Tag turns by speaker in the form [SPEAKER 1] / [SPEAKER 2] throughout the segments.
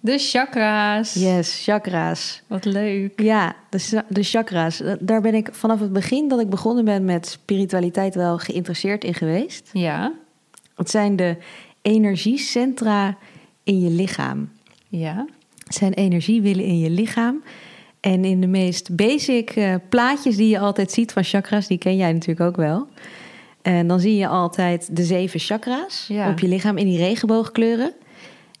[SPEAKER 1] de chakra's.
[SPEAKER 2] Yes, chakra's.
[SPEAKER 1] Wat leuk.
[SPEAKER 2] Ja, de, sa- de chakra's. Da- Daar ben ik vanaf het begin dat ik begonnen ben met spiritualiteit wel geïnteresseerd in geweest.
[SPEAKER 1] Ja,
[SPEAKER 2] Het zijn de energiecentra in je lichaam.
[SPEAKER 1] ja.
[SPEAKER 2] Het zijn energiewillen in je lichaam. En in de meest basic eh, plaatjes die je altijd ziet van chakra's, die ken jij natuurlijk ook wel. En dan zie je altijd de zeven chakra's
[SPEAKER 1] Ja.
[SPEAKER 2] op je lichaam in die regenboogkleuren.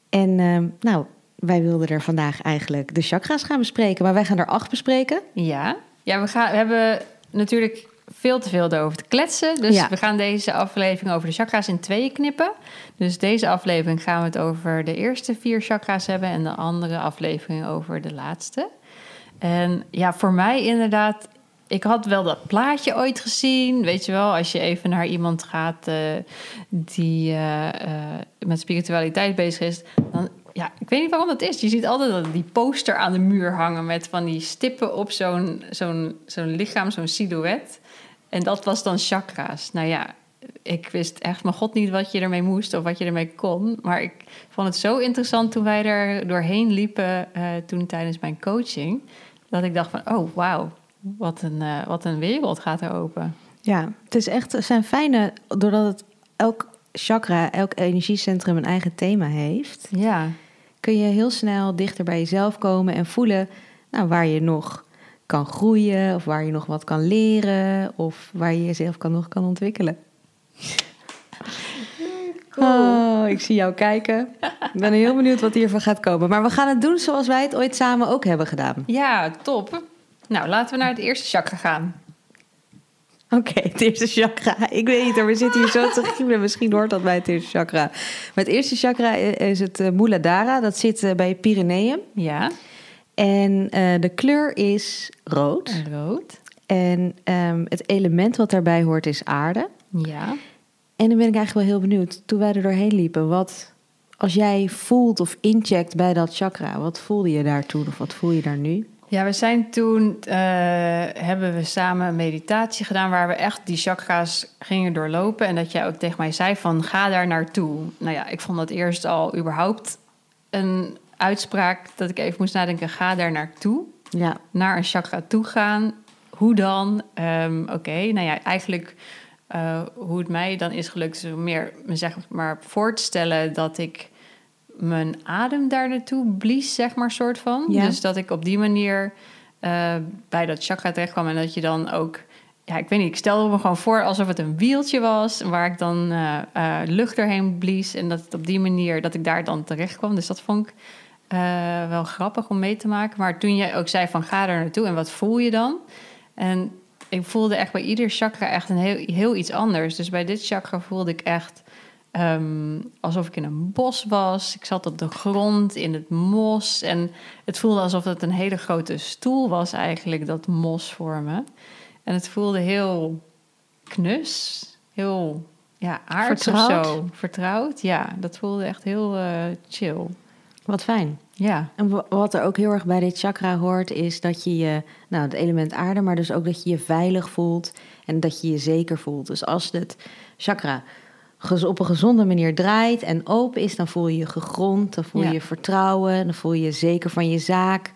[SPEAKER 2] En ehm, nou, wij wilden er vandaag eigenlijk de chakra's gaan bespreken, maar wij gaan er acht bespreken.
[SPEAKER 1] Ja, ja we, gaan, we hebben natuurlijk veel te veel erover te kletsen. Dus
[SPEAKER 2] Ja.
[SPEAKER 1] we gaan deze aflevering over de chakra's in tweeën knippen. Dus deze aflevering gaan we het over de eerste vier chakra's hebben... en de andere aflevering over de laatste. En ja, voor mij inderdaad... Ik had wel dat plaatje ooit gezien. Weet je wel, als je even naar iemand gaat eh, die eh, eh, met spiritualiteit bezig is, dan ja, ik weet niet waarom dat is. Je ziet altijd dat die poster aan de muur hangen met van die stippen op zo'n zo'n zo'n lichaam, zo'n silhouet. En dat was dan chakra's. Nou ja, ik wist echt mijn god niet wat je ermee moest of wat je ermee kon. Maar ik vond het zo interessant toen wij er doorheen liepen, eh, toen tijdens mijn coaching, dat ik dacht van, oh wauw, wat een, eh, wat een wereld gaat er open.
[SPEAKER 2] Ja, het is echt, het zijn fijne, doordat het elk chakra, elk energiecentrum een eigen thema heeft,
[SPEAKER 1] Ja,
[SPEAKER 2] kun je heel snel dichter bij jezelf komen en voelen nou, waar je nog kan groeien, of waar je nog wat kan leren, of waar je jezelf kan, nog kan ontwikkelen. Oh, ik zie jou kijken. Ik ben heel benieuwd wat hiervan gaat komen. Maar we gaan het doen zoals wij het ooit samen ook hebben gedaan.
[SPEAKER 1] ja, top. Nou, laten we naar het eerste chakra gaan.
[SPEAKER 2] Oké, het eerste chakra. Ik weet niet, hoor, we zitten hier zo te giebelen. Misschien hoort dat bij het eerste chakra. Maar het eerste chakra eh, is het eh, Muladhara. Dat zit eh, bij je Pyreneeën.
[SPEAKER 1] Ja,
[SPEAKER 2] En eh, de kleur is rood.
[SPEAKER 1] rood.
[SPEAKER 2] En ehm, het element wat daarbij hoort is aarde.
[SPEAKER 1] Ja.
[SPEAKER 2] En dan ben ik eigenlijk wel heel benieuwd. Toen wij er doorheen liepen, wat als jij voelt of incheckt bij dat chakra, wat voelde je daar toen of wat voel je daar nu?
[SPEAKER 1] Ja, we zijn toen, eh, hebben we samen een meditatie gedaan waar we echt die chakra's gingen doorlopen. En dat jij ook tegen mij zei van ga daar naartoe. Nou ja, ik vond dat eerst al überhaupt een uitspraak dat ik even moest nadenken. Ga daar naartoe,
[SPEAKER 2] Ja,
[SPEAKER 1] naar een chakra toe gaan. Hoe dan? Ehm, Oké, nou ja, eigenlijk eh, hoe het mij dan is gelukt is om meer me zeg maar voor te stellen dat ik mijn adem daar naartoe blies, zeg maar, soort van.
[SPEAKER 2] Ja.
[SPEAKER 1] Dus dat ik op die manier eh, bij dat chakra terecht kwam en dat je dan ook... Ja, ik weet niet, ik stelde me gewoon voor alsof het een wieltje was... waar ik dan eh, eh, lucht doorheen blies en dat het op die manier... dat ik daar dan terecht kwam. Dus dat vond ik eh, wel grappig om mee te maken. Maar toen jij ook zei van ga daar naartoe en wat voel je dan? En ik voelde echt bij ieder chakra echt een heel, heel iets anders. Dus bij dit chakra voelde ik echt ehm, alsof ik in een bos was. Ik zat op de grond, in het mos. En het voelde alsof het een hele grote stoel was eigenlijk, dat mos voor me. En het voelde heel knus, heel ja, aards of
[SPEAKER 2] Vertrouwd?
[SPEAKER 1] zo. Vertrouwd, ja. Dat voelde echt heel eh, chill.
[SPEAKER 2] wat fijn.
[SPEAKER 1] Ja.
[SPEAKER 2] En wa- wat er ook heel erg bij dit chakra hoort, is dat je je, nou het element aarde, maar dus ook dat je je veilig voelt en dat je je zeker voelt. Dus als het chakra gez- op een gezonde manier draait en open is, dan voel je je gegrond, dan voel je
[SPEAKER 1] Ja.
[SPEAKER 2] je vertrouwen, dan voel je je zeker van je zaak.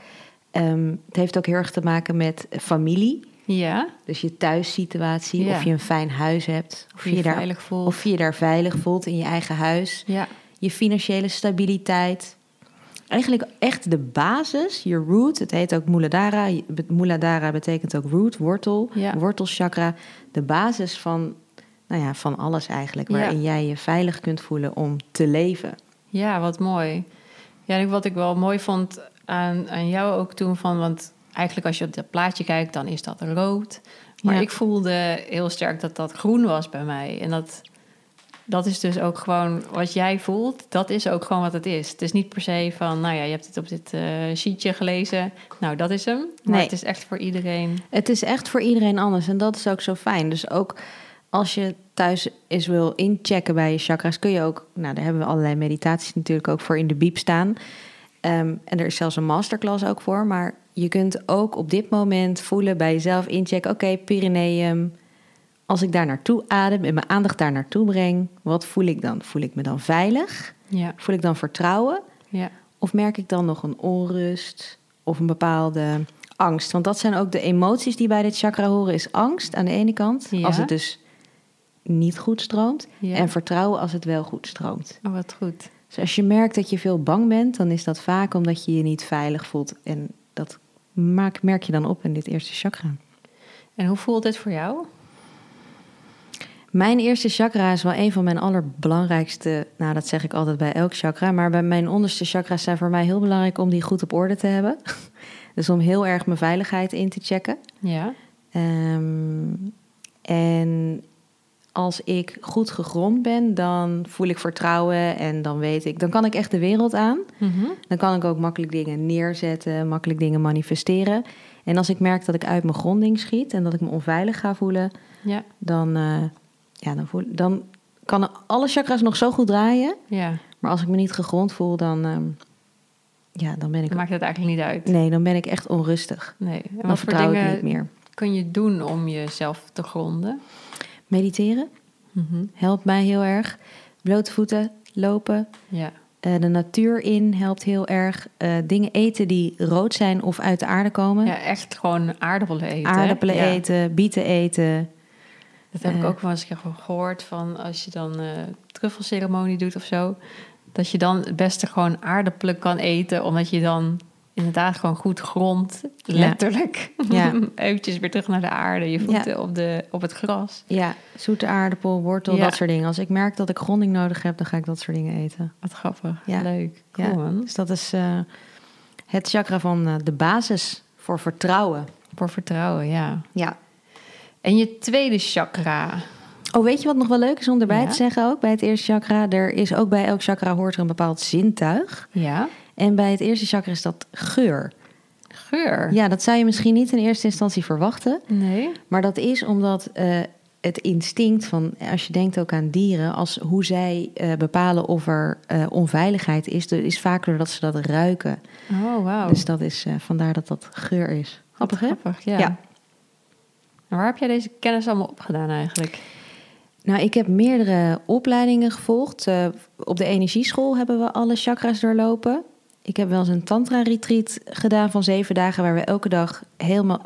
[SPEAKER 2] Ehm, het heeft ook heel erg te maken met familie,
[SPEAKER 1] Ja,
[SPEAKER 2] dus je thuissituatie,
[SPEAKER 1] Ja.
[SPEAKER 2] of je een fijn huis hebt, of
[SPEAKER 1] of
[SPEAKER 2] je,
[SPEAKER 1] je je
[SPEAKER 2] daar,
[SPEAKER 1] veilig voelt.
[SPEAKER 2] of je je daar veilig voelt in je eigen huis
[SPEAKER 1] ja.
[SPEAKER 2] je financiële stabiliteit. Eigenlijk echt de basis, je root. Het heet ook Muladhara. Je- bet- Muladhara betekent ook root, wortel,
[SPEAKER 1] Ja.
[SPEAKER 2] wortelchakra. De basis van, nou ja, van alles eigenlijk.
[SPEAKER 1] Ja.
[SPEAKER 2] Waarin jij je veilig kunt voelen om te leven.
[SPEAKER 1] ja, wat mooi. Ja, en wat ik wel mooi vond aan, aan jou ook toen van... want eigenlijk als je op dat plaatje kijkt, dan is dat rood. Maar
[SPEAKER 2] Ja.
[SPEAKER 1] ik voelde heel sterk dat dat groen was bij mij. En dat dat is dus ook gewoon wat jij voelt, dat is ook gewoon wat het is. Het is niet per se van, nou ja, je hebt het op dit eh, sheetje gelezen, nou dat is hem. Maar
[SPEAKER 2] Nee.
[SPEAKER 1] het is echt voor iedereen.
[SPEAKER 2] Het is echt voor iedereen anders en dat is ook zo fijn. Dus ook als je thuis eens wil inchecken bij je chakra's, kun je ook, nou daar hebben we allerlei meditaties natuurlijk ook voor in de biep staan. Ehm, en er is zelfs een masterclass ook voor, maar je kunt ook op dit moment voelen bij jezelf inchecken, oké, Pyreneeën, als ik daar naartoe adem en mijn aandacht daar naartoe breng, wat voel ik dan? Voel ik me dan veilig?
[SPEAKER 1] Ja,
[SPEAKER 2] Voel ik dan vertrouwen?
[SPEAKER 1] ja,
[SPEAKER 2] Of merk ik dan nog een onrust of een bepaalde angst? Want dat zijn ook de emoties die bij dit chakra horen, is angst aan de ene kant,
[SPEAKER 1] Ja.
[SPEAKER 2] als het dus niet goed stroomt,
[SPEAKER 1] Ja.
[SPEAKER 2] en vertrouwen als het wel goed stroomt.
[SPEAKER 1] oh, wat goed.
[SPEAKER 2] Dus als je merkt dat je veel bang bent, dan is dat vaak omdat je je niet veilig voelt. En dat maak, merk je dan op in dit eerste chakra.
[SPEAKER 1] En hoe voelt dit voor jou?
[SPEAKER 2] Mijn eerste chakra is wel een van mijn allerbelangrijkste. Nou, dat zeg ik altijd bij elk chakra. Maar bij mijn onderste chakra's zijn voor mij heel belangrijk om die goed op orde te hebben. Dus om heel erg mijn veiligheid in te checken.
[SPEAKER 1] Ja,
[SPEAKER 2] Ehm, en als ik goed gegrond ben, dan voel ik vertrouwen en dan weet ik, dan kan ik echt de wereld aan.
[SPEAKER 1] Mhm.
[SPEAKER 2] Dan kan ik ook makkelijk dingen neerzetten, makkelijk dingen manifesteren. En als ik merk dat ik uit mijn gronding schiet en dat ik me onveilig ga voelen,
[SPEAKER 1] ja,
[SPEAKER 2] dan, eh, ja, dan, voel, dan kan alle chakra's nog zo goed draaien.
[SPEAKER 1] ja.
[SPEAKER 2] Maar als ik me niet gegrond voel, dan, ehm, ja, dan ben ik.
[SPEAKER 1] Dan maakt het eigenlijk niet uit.
[SPEAKER 2] Nee, dan ben ik echt onrustig.
[SPEAKER 1] Nee. En
[SPEAKER 2] Dan
[SPEAKER 1] wat voor
[SPEAKER 2] vertrouw ik
[SPEAKER 1] dingen
[SPEAKER 2] niet meer.
[SPEAKER 1] kun je doen om jezelf te gronden?
[SPEAKER 2] Mediteren
[SPEAKER 1] Mhm.
[SPEAKER 2] helpt mij heel erg. Blote voeten, lopen,
[SPEAKER 1] Ja,
[SPEAKER 2] eh, de natuur in helpt heel erg. Eh, dingen eten die rood zijn of uit de aarde komen.
[SPEAKER 1] ja, echt gewoon aardappelen eten. hè?
[SPEAKER 2] Aardappelen
[SPEAKER 1] Ja.
[SPEAKER 2] eten, bieten eten.
[SPEAKER 1] Dat heb ik
[SPEAKER 2] Eh.
[SPEAKER 1] ook wel eens een keer gehoord van als je dan eh truffelceremonie doet of zo. Dat je dan het beste gewoon aardappelen kan eten. Omdat je dan inderdaad gewoon goed grond, letterlijk.
[SPEAKER 2] Ja.
[SPEAKER 1] Eventjes weer terug naar de aarde. Je voeten op, de, op het gras.
[SPEAKER 2] Ja, zoete aardappel, wortel,
[SPEAKER 1] Ja.
[SPEAKER 2] dat soort dingen. Als ik merk dat ik gronding nodig heb, dan ga ik dat soort dingen eten.
[SPEAKER 1] Wat grappig.
[SPEAKER 2] Ja.
[SPEAKER 1] Leuk. Cool
[SPEAKER 2] Ja.
[SPEAKER 1] man.
[SPEAKER 2] Dus dat is eh, het chakra van eh, de basis voor vertrouwen.
[SPEAKER 1] Voor vertrouwen, ja.
[SPEAKER 2] Ja.
[SPEAKER 1] En je tweede chakra.
[SPEAKER 2] Oh, weet je wat nog wel leuk is om erbij
[SPEAKER 1] Ja.
[SPEAKER 2] te zeggen ook? Bij het eerste chakra, er is ook bij elk chakra hoort er een bepaald zintuig.
[SPEAKER 1] Ja.
[SPEAKER 2] En bij het eerste chakra is dat geur.
[SPEAKER 1] Geur.
[SPEAKER 2] Ja, dat zou je misschien niet in eerste instantie verwachten.
[SPEAKER 1] Nee.
[SPEAKER 2] Maar dat is omdat eh, het instinct van, als je denkt ook aan dieren, als hoe zij eh, bepalen of er eh, onveiligheid is, dat is vaak doordat ze dat ruiken.
[SPEAKER 1] Oh, wauw.
[SPEAKER 2] Dus dat is eh, vandaar dat dat geur is. Grappig, hè?
[SPEAKER 1] Grappig, ja.
[SPEAKER 2] Ja.
[SPEAKER 1] En waar heb jij deze kennis allemaal opgedaan eigenlijk?
[SPEAKER 2] Nou, ik heb meerdere opleidingen gevolgd. Eh, op de energieschool hebben we alle chakra's doorlopen. Ik heb wel eens een tantra-retreat gedaan van zeven dagen... waar we elke dag helemaal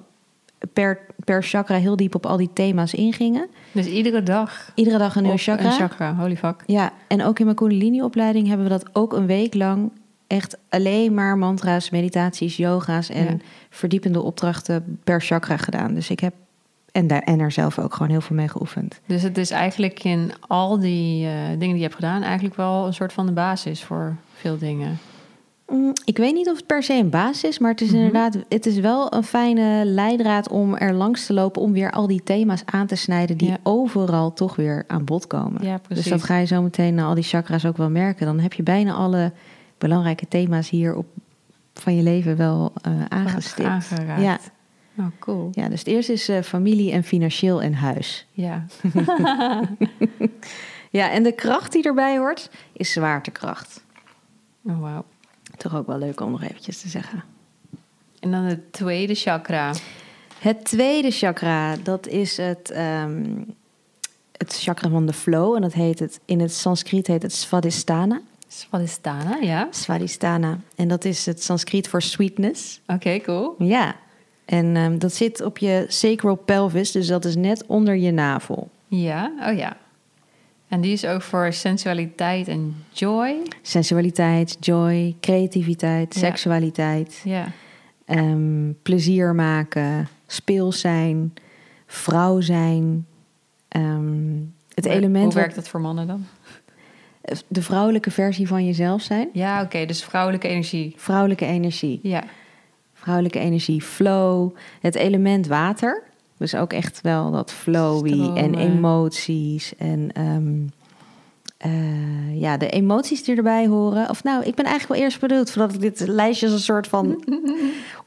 [SPEAKER 2] per, per chakra heel diep op al die thema's ingingen.
[SPEAKER 1] Dus iedere dag
[SPEAKER 2] Iedere dag een nieuw
[SPEAKER 1] op
[SPEAKER 2] chakra.
[SPEAKER 1] Een chakra, holy fuck.
[SPEAKER 2] Ja, en ook in mijn kundalini-opleiding hebben we dat ook een week lang... echt alleen maar mantra's, meditaties, yoga's en
[SPEAKER 1] Ja.
[SPEAKER 2] verdiepende opdrachten per chakra gedaan. Dus ik heb... En, daar, en er zelf ook gewoon heel veel mee geoefend.
[SPEAKER 1] Dus het is eigenlijk in al die eh, dingen die je hebt gedaan, eigenlijk wel een soort van de basis voor veel dingen.
[SPEAKER 2] Mm, Ik weet niet of het per se een basis is, maar het
[SPEAKER 1] Mhm.
[SPEAKER 2] is inderdaad, het is wel een fijne leidraad om er langs te lopen om weer al die thema's aan te snijden die
[SPEAKER 1] Ja.
[SPEAKER 2] overal toch weer aan bod komen.
[SPEAKER 1] Ja, precies.
[SPEAKER 2] Dus dat ga je zo meteen na al die chakra's ook wel merken. Dan heb je bijna alle belangrijke thema's hier op van je leven wel eh aangestipt.
[SPEAKER 1] Aangeraakt.
[SPEAKER 2] Ja.
[SPEAKER 1] Oh, cool.
[SPEAKER 2] ja, dus het eerste is eh, familie en financieel en huis.
[SPEAKER 1] Ja.
[SPEAKER 2] Ja, en de kracht die erbij hoort is zwaartekracht.
[SPEAKER 1] Oh, wauw.
[SPEAKER 2] Toch ook wel leuk om nog eventjes te zeggen.
[SPEAKER 1] En dan het tweede chakra.
[SPEAKER 2] Het tweede chakra, dat is het, ehm, het chakra van de flow. En dat heet het, in het Sanskriet heet het Svadhisthana.
[SPEAKER 1] Swadhisthana, ja.
[SPEAKER 2] Svadhisthana. En dat is het Sanskriet voor sweetness.
[SPEAKER 1] Oké, cool.
[SPEAKER 2] Ja. En ehm, dat zit op je sacral pelvis, dus dat is net onder je navel.
[SPEAKER 1] Ja, oh ja. En die is ook voor sensualiteit en joy.
[SPEAKER 2] Sensualiteit, joy, creativiteit,
[SPEAKER 1] Ja.
[SPEAKER 2] seksualiteit,
[SPEAKER 1] Ja.
[SPEAKER 2] ehm, plezier maken, speels zijn, vrouw zijn. Ehm, het
[SPEAKER 1] Hoe-
[SPEAKER 2] element
[SPEAKER 1] Hoe
[SPEAKER 2] wat-
[SPEAKER 1] werkt dat voor mannen dan?
[SPEAKER 2] de vrouwelijke versie van jezelf zijn.
[SPEAKER 1] Ja, oké, dus vrouwelijke energie.
[SPEAKER 2] Vrouwelijke energie.
[SPEAKER 1] Ja.
[SPEAKER 2] Vrouwelijke energie, flow. Het element water. Dus ook echt wel dat flowy en
[SPEAKER 1] Stromen.
[SPEAKER 2] emoties en ehm, eh, ja, de emoties die erbij horen. Of nou, ik ben eigenlijk wel eerst bedoeld voordat ik dit lijstje als een soort van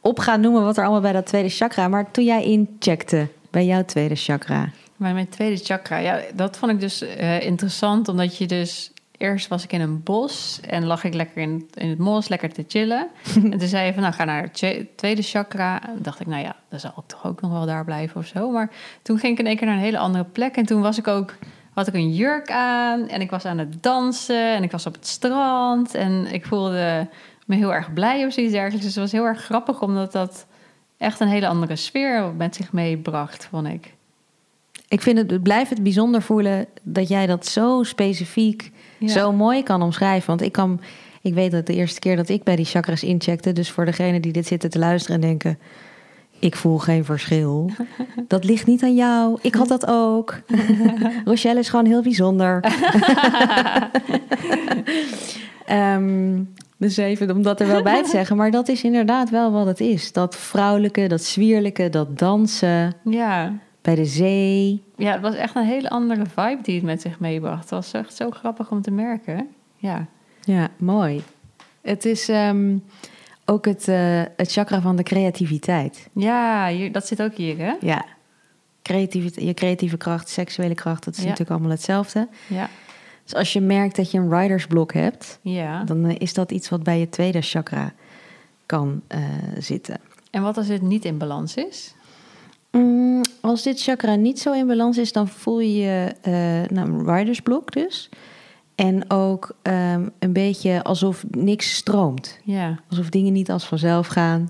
[SPEAKER 2] op ga noemen wat er allemaal bij dat tweede chakra. Maar toen jij incheckte bij jouw tweede chakra.
[SPEAKER 1] Maar mijn tweede chakra, ja, dat vond ik dus eh, interessant, omdat je dus... Eerst was ik in een bos en lag ik lekker in, in het mos, lekker te chillen. en toen zei je van, nou, ga naar het tje- tweede chakra. En dacht ik, nou ja, dan zal ik toch ook nog wel daar blijven of zo. Maar toen ging ik in één keer naar een hele andere plek. En toen was ik ook, had ik een jurk aan en ik was aan het dansen. En ik was op het strand en ik voelde me heel erg blij of zoiets dergelijks. Dus het was heel erg grappig, omdat dat echt een hele andere sfeer met zich meebracht, vond ik.
[SPEAKER 2] Ik vind het, blijf het bijzonder voelen dat jij dat zo specifiek,
[SPEAKER 1] Ja.
[SPEAKER 2] zo mooi kan omschrijven. Want ik kan, ik weet dat de eerste keer dat ik bij die chakras incheckte, dus voor degene die dit zitten te luisteren en denken, ik voel geen verschil. Dat ligt niet aan jou. Ik had dat ook. Rochelle is gewoon heel bijzonder. Ehm, dus even om dat er wel bij te zeggen. Maar dat is inderdaad wel wat het is. Dat vrouwelijke, dat zwierlijke, dat dansen
[SPEAKER 1] Ja.
[SPEAKER 2] bij de zee.
[SPEAKER 1] ja, het was echt een hele andere vibe die het met zich meebracht. Het was echt zo grappig om te merken. Ja,
[SPEAKER 2] Ja, mooi. Het is ehm, ook het, eh, het chakra van de creativiteit.
[SPEAKER 1] ja hier- dat zit ook hier, hè?
[SPEAKER 2] Ja. Creativiteit, je creatieve kracht, seksuele kracht, dat is
[SPEAKER 1] Ja.
[SPEAKER 2] natuurlijk allemaal hetzelfde.
[SPEAKER 1] Ja.
[SPEAKER 2] Dus als je merkt dat je een ridersblok hebt,
[SPEAKER 1] ja.
[SPEAKER 2] dan eh, is dat iets wat bij je tweede chakra kan eh, zitten.
[SPEAKER 1] En wat als het niet in balans is?
[SPEAKER 2] Mm, als dit chakra niet zo in balans is, dan voel je je eh, nou, een ridersblok dus. En ook ehm, een beetje alsof niks stroomt.
[SPEAKER 1] Ja.
[SPEAKER 2] Alsof dingen niet als vanzelf gaan.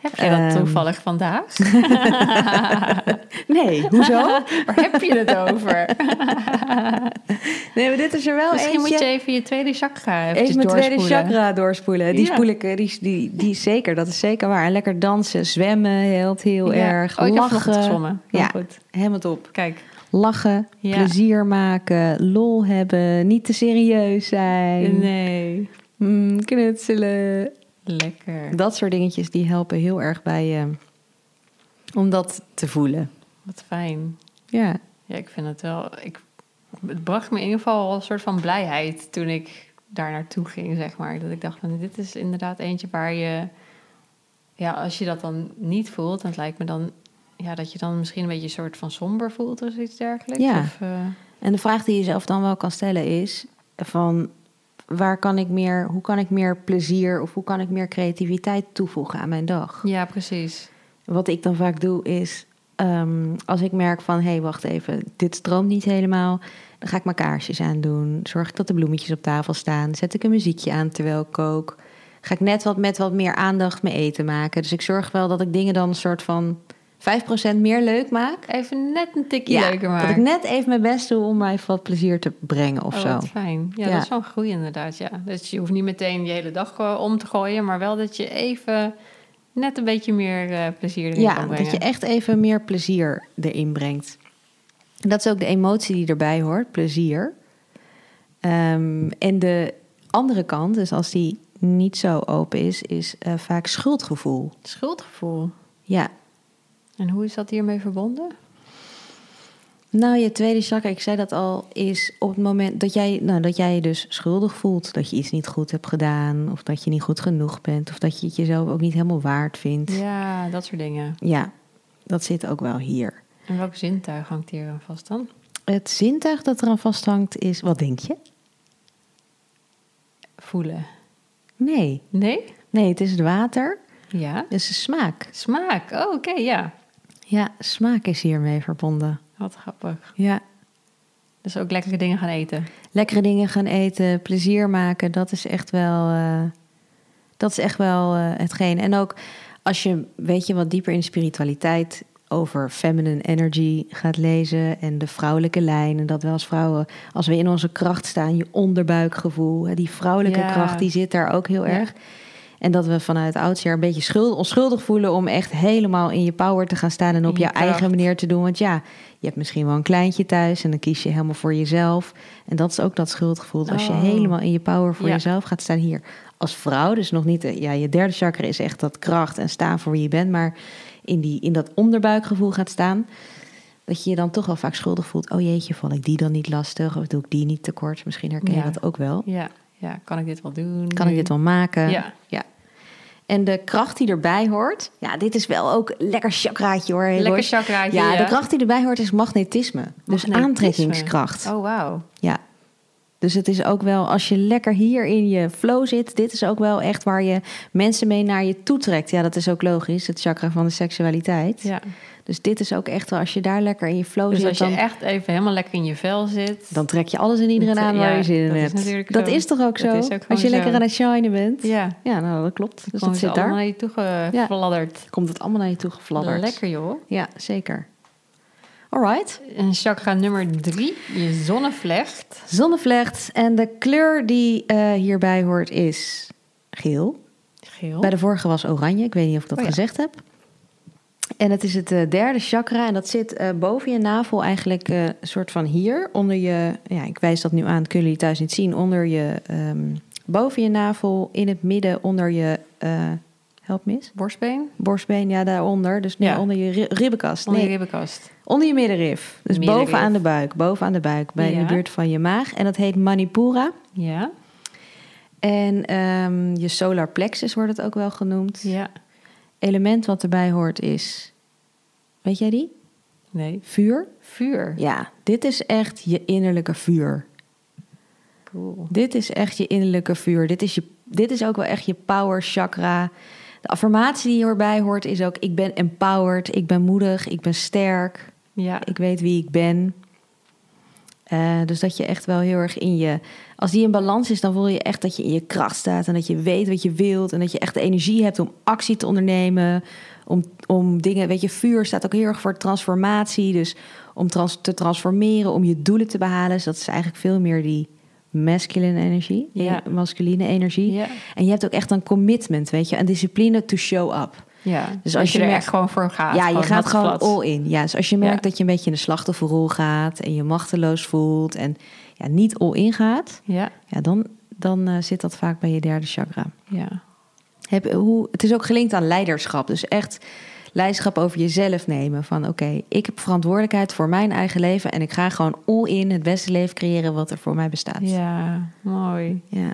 [SPEAKER 1] Heb jij dat
[SPEAKER 2] Ehm.
[SPEAKER 1] toevallig vandaag?
[SPEAKER 2] Nee, hoezo?
[SPEAKER 1] Waar heb je het over?
[SPEAKER 2] Nee, maar dit is er wel
[SPEAKER 1] Misschien
[SPEAKER 2] Nou, eentje.
[SPEAKER 1] moet je even je tweede chakra even
[SPEAKER 2] Even mijn tweede chakra doorspoelen. Die
[SPEAKER 1] Ja.
[SPEAKER 2] spoel ik, eh, die, die, die is zeker, dat is zeker waar. En lekker dansen, zwemmen, helpt heel erg.
[SPEAKER 1] Oh, ik heb vanochtend
[SPEAKER 2] Lachen,
[SPEAKER 1] gezwommen. Heel
[SPEAKER 2] Ja.
[SPEAKER 1] goed.
[SPEAKER 2] helemaal top.
[SPEAKER 1] Kijk,
[SPEAKER 2] Lachen,
[SPEAKER 1] Ja.
[SPEAKER 2] plezier maken, lol hebben, niet te serieus zijn,
[SPEAKER 1] nee.
[SPEAKER 2] Mm, knutselen.
[SPEAKER 1] Lekker.
[SPEAKER 2] Dat soort dingetjes die helpen heel erg bij je om dat te voelen.
[SPEAKER 1] Wat fijn.
[SPEAKER 2] Ja,
[SPEAKER 1] Ja, ik vind het wel. Ik, het bracht me in ieder geval wel een soort van blijheid toen ik daar naartoe ging, zeg maar. Dat ik dacht van dit is inderdaad eentje waar je. Ja, als je dat dan niet voelt, dan lijkt me dan. Ja, dat je dan misschien een beetje een soort van somber voelt of iets dergelijks.
[SPEAKER 2] Ja.
[SPEAKER 1] Of, eh,
[SPEAKER 2] En de vraag die je zelf dan wel kan stellen is: van waar kan ik meer, hoe kan ik meer plezier of hoe kan ik meer creativiteit toevoegen aan mijn dag?
[SPEAKER 1] ja, precies.
[SPEAKER 2] Wat ik dan vaak doe is, ehm, als ik merk van hé, hey, wacht even, dit stroomt niet helemaal, dan ga ik mijn kaarsjes aandoen. Zorg ik dat de bloemetjes op tafel staan. Zet ik een muziekje aan terwijl ik kook. Ga ik net wat met wat meer aandacht mijn eten maken. Dus ik zorg wel dat ik dingen dan een soort van 5% meer leuk maak.
[SPEAKER 1] Even net een tikje leuker maken.
[SPEAKER 2] dat ik net even mijn best doe om mij wat plezier te brengen of
[SPEAKER 1] Oh,
[SPEAKER 2] zo.
[SPEAKER 1] wat fijn. Ja,
[SPEAKER 2] Ja.
[SPEAKER 1] dat is wel een groei inderdaad. Ja. Dus je hoeft niet meteen je hele dag eh, om te gooien, maar wel dat je even net een beetje meer eh, plezier erin kan
[SPEAKER 2] Ja,
[SPEAKER 1] brengen.
[SPEAKER 2] dat je echt even meer plezier erin brengt. En dat is ook de emotie die erbij hoort, plezier. Ehm, en de andere kant, dus als die niet zo open is, is eh, vaak schuldgevoel.
[SPEAKER 1] Schuldgevoel.
[SPEAKER 2] Ja,
[SPEAKER 1] En hoe is dat hiermee verbonden?
[SPEAKER 2] nou je tweede chakra, ik zei dat al, is op het moment dat jij, nou, dat jij je dus schuldig voelt. Dat je iets niet goed hebt gedaan, of dat je niet goed genoeg bent, of dat je het jezelf ook niet helemaal waard vindt.
[SPEAKER 1] Ja, dat soort dingen.
[SPEAKER 2] ja dat zit ook wel hier.
[SPEAKER 1] En welk zintuig hangt hier aan vast dan?
[SPEAKER 2] Het zintuig dat eraan vasthangt is, wat denk je?
[SPEAKER 1] Voelen.
[SPEAKER 2] Nee.
[SPEAKER 1] Nee?
[SPEAKER 2] Nee, het is het water.
[SPEAKER 1] Ja.
[SPEAKER 2] Het is de smaak.
[SPEAKER 1] Smaak. Oh, oké, ja.
[SPEAKER 2] Ja, smaak is hiermee verbonden.
[SPEAKER 1] Wat grappig.
[SPEAKER 2] Ja.
[SPEAKER 1] Dus ook lekkere dingen gaan eten.
[SPEAKER 2] Lekkere dingen gaan eten, plezier maken, dat is echt wel, eh, dat is echt wel eh, hetgeen. En ook als je, weet je, wat dieper in spiritualiteit over feminine energy gaat lezen en de vrouwelijke lijn en dat we als vrouwen, als we in onze kracht staan, je onderbuikgevoel, hè, die vrouwelijke
[SPEAKER 1] Ja.
[SPEAKER 2] kracht, die zit daar ook heel
[SPEAKER 1] Ja.
[SPEAKER 2] erg. En dat we vanuit oudsher een beetje schuld, onschuldig voelen om echt helemaal in je power te gaan staan en op
[SPEAKER 1] In je
[SPEAKER 2] jouw eigen
[SPEAKER 1] kracht.
[SPEAKER 2] manier te doen. Want ja, je hebt misschien wel een kleintje thuis en dan kies je helemaal voor jezelf. En dat is ook dat schuldgevoel. Als je
[SPEAKER 1] Oh.
[SPEAKER 2] helemaal in je power voor
[SPEAKER 1] Ja.
[SPEAKER 2] jezelf gaat staan hier als vrouw, dus nog niet, eh, ja, je derde chakra is echt dat kracht en staan voor wie je bent, maar in, die, in dat onderbuikgevoel gaat staan. dat je je dan toch wel vaak schuldig voelt. Oh jeetje, val ik die dan niet lastig? Of doe ik die niet tekort? Misschien herken
[SPEAKER 1] Ja.
[SPEAKER 2] je dat ook wel.
[SPEAKER 1] Ja, ja, kan ik dit wel doen?
[SPEAKER 2] Kan ik dit wel maken?
[SPEAKER 1] Mhm. Ja.
[SPEAKER 2] ja. En de kracht die erbij hoort. Ja, dit is wel ook lekker chakraatje hoor. Hegel.
[SPEAKER 1] Lekker chakraatje.
[SPEAKER 2] Ja, de kracht die erbij hoort is magnetisme. Dus
[SPEAKER 1] Magnetisme.
[SPEAKER 2] aantrekkingskracht.
[SPEAKER 1] Oh, wauw.
[SPEAKER 2] Ja. Dus het is ook wel, als je lekker hier in je flow zit, dit is ook wel echt waar je mensen mee naar je toe trekt. Ja, dat is ook logisch, het chakra van de seksualiteit.
[SPEAKER 1] Ja.
[SPEAKER 2] Dus dit is ook echt wel, als je daar lekker in je flow
[SPEAKER 1] Dus
[SPEAKER 2] zit,
[SPEAKER 1] als je
[SPEAKER 2] Oh, dan,
[SPEAKER 1] echt even helemaal lekker in je vel zit.
[SPEAKER 2] dan trek je alles en iedereen aan waar
[SPEAKER 1] Ja,
[SPEAKER 2] je zin in
[SPEAKER 1] dat is
[SPEAKER 2] hebt.
[SPEAKER 1] natuurlijk
[SPEAKER 2] dat
[SPEAKER 1] zo.
[SPEAKER 2] is toch ook
[SPEAKER 1] Dat is
[SPEAKER 2] zo?
[SPEAKER 1] ook gewoon
[SPEAKER 2] als je lekker
[SPEAKER 1] zo.
[SPEAKER 2] aan het shinen bent.
[SPEAKER 1] ja,
[SPEAKER 2] Ja, nou dat klopt. Dus
[SPEAKER 1] komen
[SPEAKER 2] dat
[SPEAKER 1] ze
[SPEAKER 2] zit daar.
[SPEAKER 1] allemaal naar je toe gefladderd.
[SPEAKER 2] Komt het allemaal naar je toe gefladderd.
[SPEAKER 1] Lekker joh.
[SPEAKER 2] Ja, zeker. Alright.
[SPEAKER 1] En chakra nummer drie, je zonnevlecht.
[SPEAKER 2] Zonnevlecht. En de kleur die eh, hierbij hoort is geel.
[SPEAKER 1] Geel.
[SPEAKER 2] Bij de vorige was oranje. Ik weet niet of ik dat
[SPEAKER 1] Oh ja.
[SPEAKER 2] gezegd heb. En het is het eh, derde chakra. En dat zit eh, boven je navel eigenlijk eh, een soort van hier. Onder je, ja, ik wijs dat nu aan. Dat kunnen jullie thuis niet zien. Onder je, ehm, boven je navel. In het midden onder je, eh, help me eens.
[SPEAKER 1] Borstbeen.
[SPEAKER 2] Borstbeen, ja, daaronder. Dus nee,
[SPEAKER 1] Ja.
[SPEAKER 2] onder je ri- ribbenkast.
[SPEAKER 1] Onder
[SPEAKER 2] nee,
[SPEAKER 1] je ribbenkast.
[SPEAKER 2] onder je middenrif. Dus
[SPEAKER 1] Middenrif.
[SPEAKER 2] boven aan de buik. Boven aan de buik. Bij in
[SPEAKER 1] Ja.
[SPEAKER 2] de buurt van je maag. En dat heet Manipura.
[SPEAKER 1] Ja.
[SPEAKER 2] En ehm, je solar plexus wordt het ook wel genoemd
[SPEAKER 1] Ja.
[SPEAKER 2] element wat erbij hoort is. Weet jij die?
[SPEAKER 1] Nee.
[SPEAKER 2] Vuur.
[SPEAKER 1] Vuur.
[SPEAKER 2] Ja, dit is echt je innerlijke vuur.
[SPEAKER 1] Cool.
[SPEAKER 2] Dit is echt je innerlijke vuur. Dit is, je, dit is ook wel echt je power chakra. De affirmatie die hierbij hoort is ook: ik ben empowered, ik ben moedig, ik ben sterk,
[SPEAKER 1] Ja.
[SPEAKER 2] ik weet wie ik ben. Eh, dus dat je echt wel heel erg in je. Als die in balans is, dan voel je echt dat je in je kracht staat. En dat je weet wat je wilt. En dat je echt de energie hebt om actie te ondernemen. Om, om dingen. Weet je, vuur staat ook heel erg voor transformatie. Dus om trans- te transformeren, om je doelen te behalen. Dus dat is eigenlijk veel meer die masculine energie.
[SPEAKER 1] Ja.
[SPEAKER 2] eh, Masculine energie.
[SPEAKER 1] Ja.
[SPEAKER 2] En je hebt ook echt een commitment, weet je. Een discipline to show up.
[SPEAKER 1] Ja. Dus
[SPEAKER 2] als
[SPEAKER 1] als je,
[SPEAKER 2] je
[SPEAKER 1] er
[SPEAKER 2] merkt-
[SPEAKER 1] echt gewoon voor gaat.
[SPEAKER 2] Ja, je gaat gewoon
[SPEAKER 1] hatsflats.
[SPEAKER 2] all in. Ja, dus als je merkt
[SPEAKER 1] Ja.
[SPEAKER 2] dat je een beetje in de slachtofferrol gaat en je machteloos voelt en ja, niet all in gaat,
[SPEAKER 1] Ja.
[SPEAKER 2] ja, dan, dan eh, zit dat vaak bij je derde chakra.
[SPEAKER 1] Ja.
[SPEAKER 2] Heb, hoe, het is ook gelinkt aan leiderschap. Dus echt leiderschap over jezelf nemen. Van oké, ik heb verantwoordelijkheid voor mijn eigen leven en ik ga gewoon all in het beste leven creëren wat er voor mij bestaat.
[SPEAKER 1] Ja. Mooi.
[SPEAKER 2] Ja.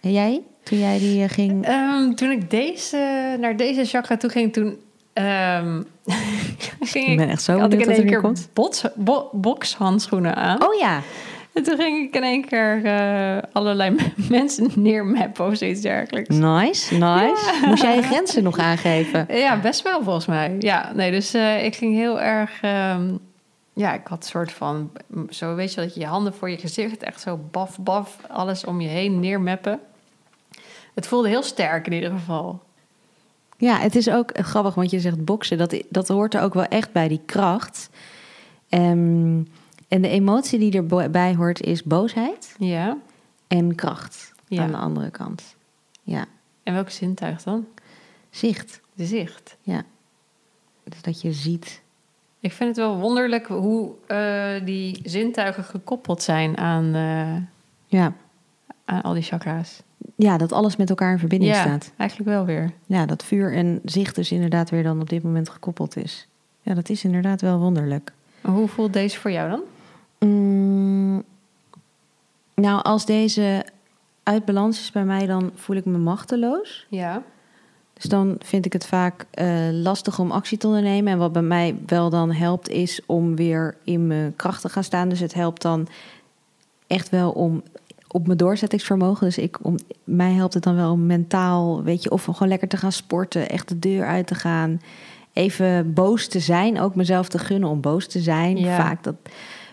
[SPEAKER 2] En jij, toen jij die eh, ging.
[SPEAKER 1] Ehm, toen ik deze, naar deze chakra toe ging, toen ehm, ging
[SPEAKER 2] Ik ben echt zo
[SPEAKER 1] had ik
[SPEAKER 2] benieuwd
[SPEAKER 1] in
[SPEAKER 2] wat
[SPEAKER 1] één
[SPEAKER 2] er nu
[SPEAKER 1] keer
[SPEAKER 2] komt.
[SPEAKER 1] bots, bo- bokshandschoenen aan.
[SPEAKER 2] Oh ja,
[SPEAKER 1] En toen ging ik in één keer eh, allerlei mensen neermappen of zoiets dergelijks.
[SPEAKER 2] nice, nice. Moest jij je grenzen nog aangeven?
[SPEAKER 1] Ja, best wel volgens mij. Ja, nee, dus eh, ik ging heel erg. ehm, ja, ik had een soort van. Zo weet je dat je je handen voor je gezicht echt zo baf, baf, alles om je heen neermappen. Het voelde heel sterk in ieder geval.
[SPEAKER 2] Ja, het is ook grappig, want je zegt boksen. Dat, dat hoort er ook wel echt bij, die kracht. Ehm, en de emotie die erbij hoort is boosheid
[SPEAKER 1] Ja.
[SPEAKER 2] en kracht
[SPEAKER 1] Ja.
[SPEAKER 2] aan de andere kant. Ja,
[SPEAKER 1] En welk zintuig dan?
[SPEAKER 2] zicht.
[SPEAKER 1] De zicht.
[SPEAKER 2] Ja. Dus dat je ziet.
[SPEAKER 1] Ik vind het wel wonderlijk hoe eh, die zintuigen gekoppeld zijn aan, eh,
[SPEAKER 2] Ja.
[SPEAKER 1] aan al die chakra's.
[SPEAKER 2] ja, dat alles met elkaar in verbinding
[SPEAKER 1] ja,
[SPEAKER 2] staat.
[SPEAKER 1] eigenlijk wel weer.
[SPEAKER 2] Ja, dat vuur en zicht dus inderdaad weer dan op dit moment gekoppeld is. Ja, dat is inderdaad wel wonderlijk.
[SPEAKER 1] Maar Hoe voelt deze voor jou dan?
[SPEAKER 2] Mm, nou, als deze uit balans is bij mij, dan voel ik me machteloos.
[SPEAKER 1] Ja.
[SPEAKER 2] Dus dan vind ik het vaak eh, lastig om actie te ondernemen. En wat bij mij wel dan helpt, is om weer in mijn kracht te gaan staan. Dus het helpt dan echt wel om op mijn doorzettingsvermogen. Dus ik, om, mij helpt het dan wel om mentaal, weet je, of gewoon lekker te gaan sporten, echt de deur uit te gaan. Even boos te zijn, ook mezelf te gunnen om boos te zijn.
[SPEAKER 1] Ja.
[SPEAKER 2] Vaak, dat,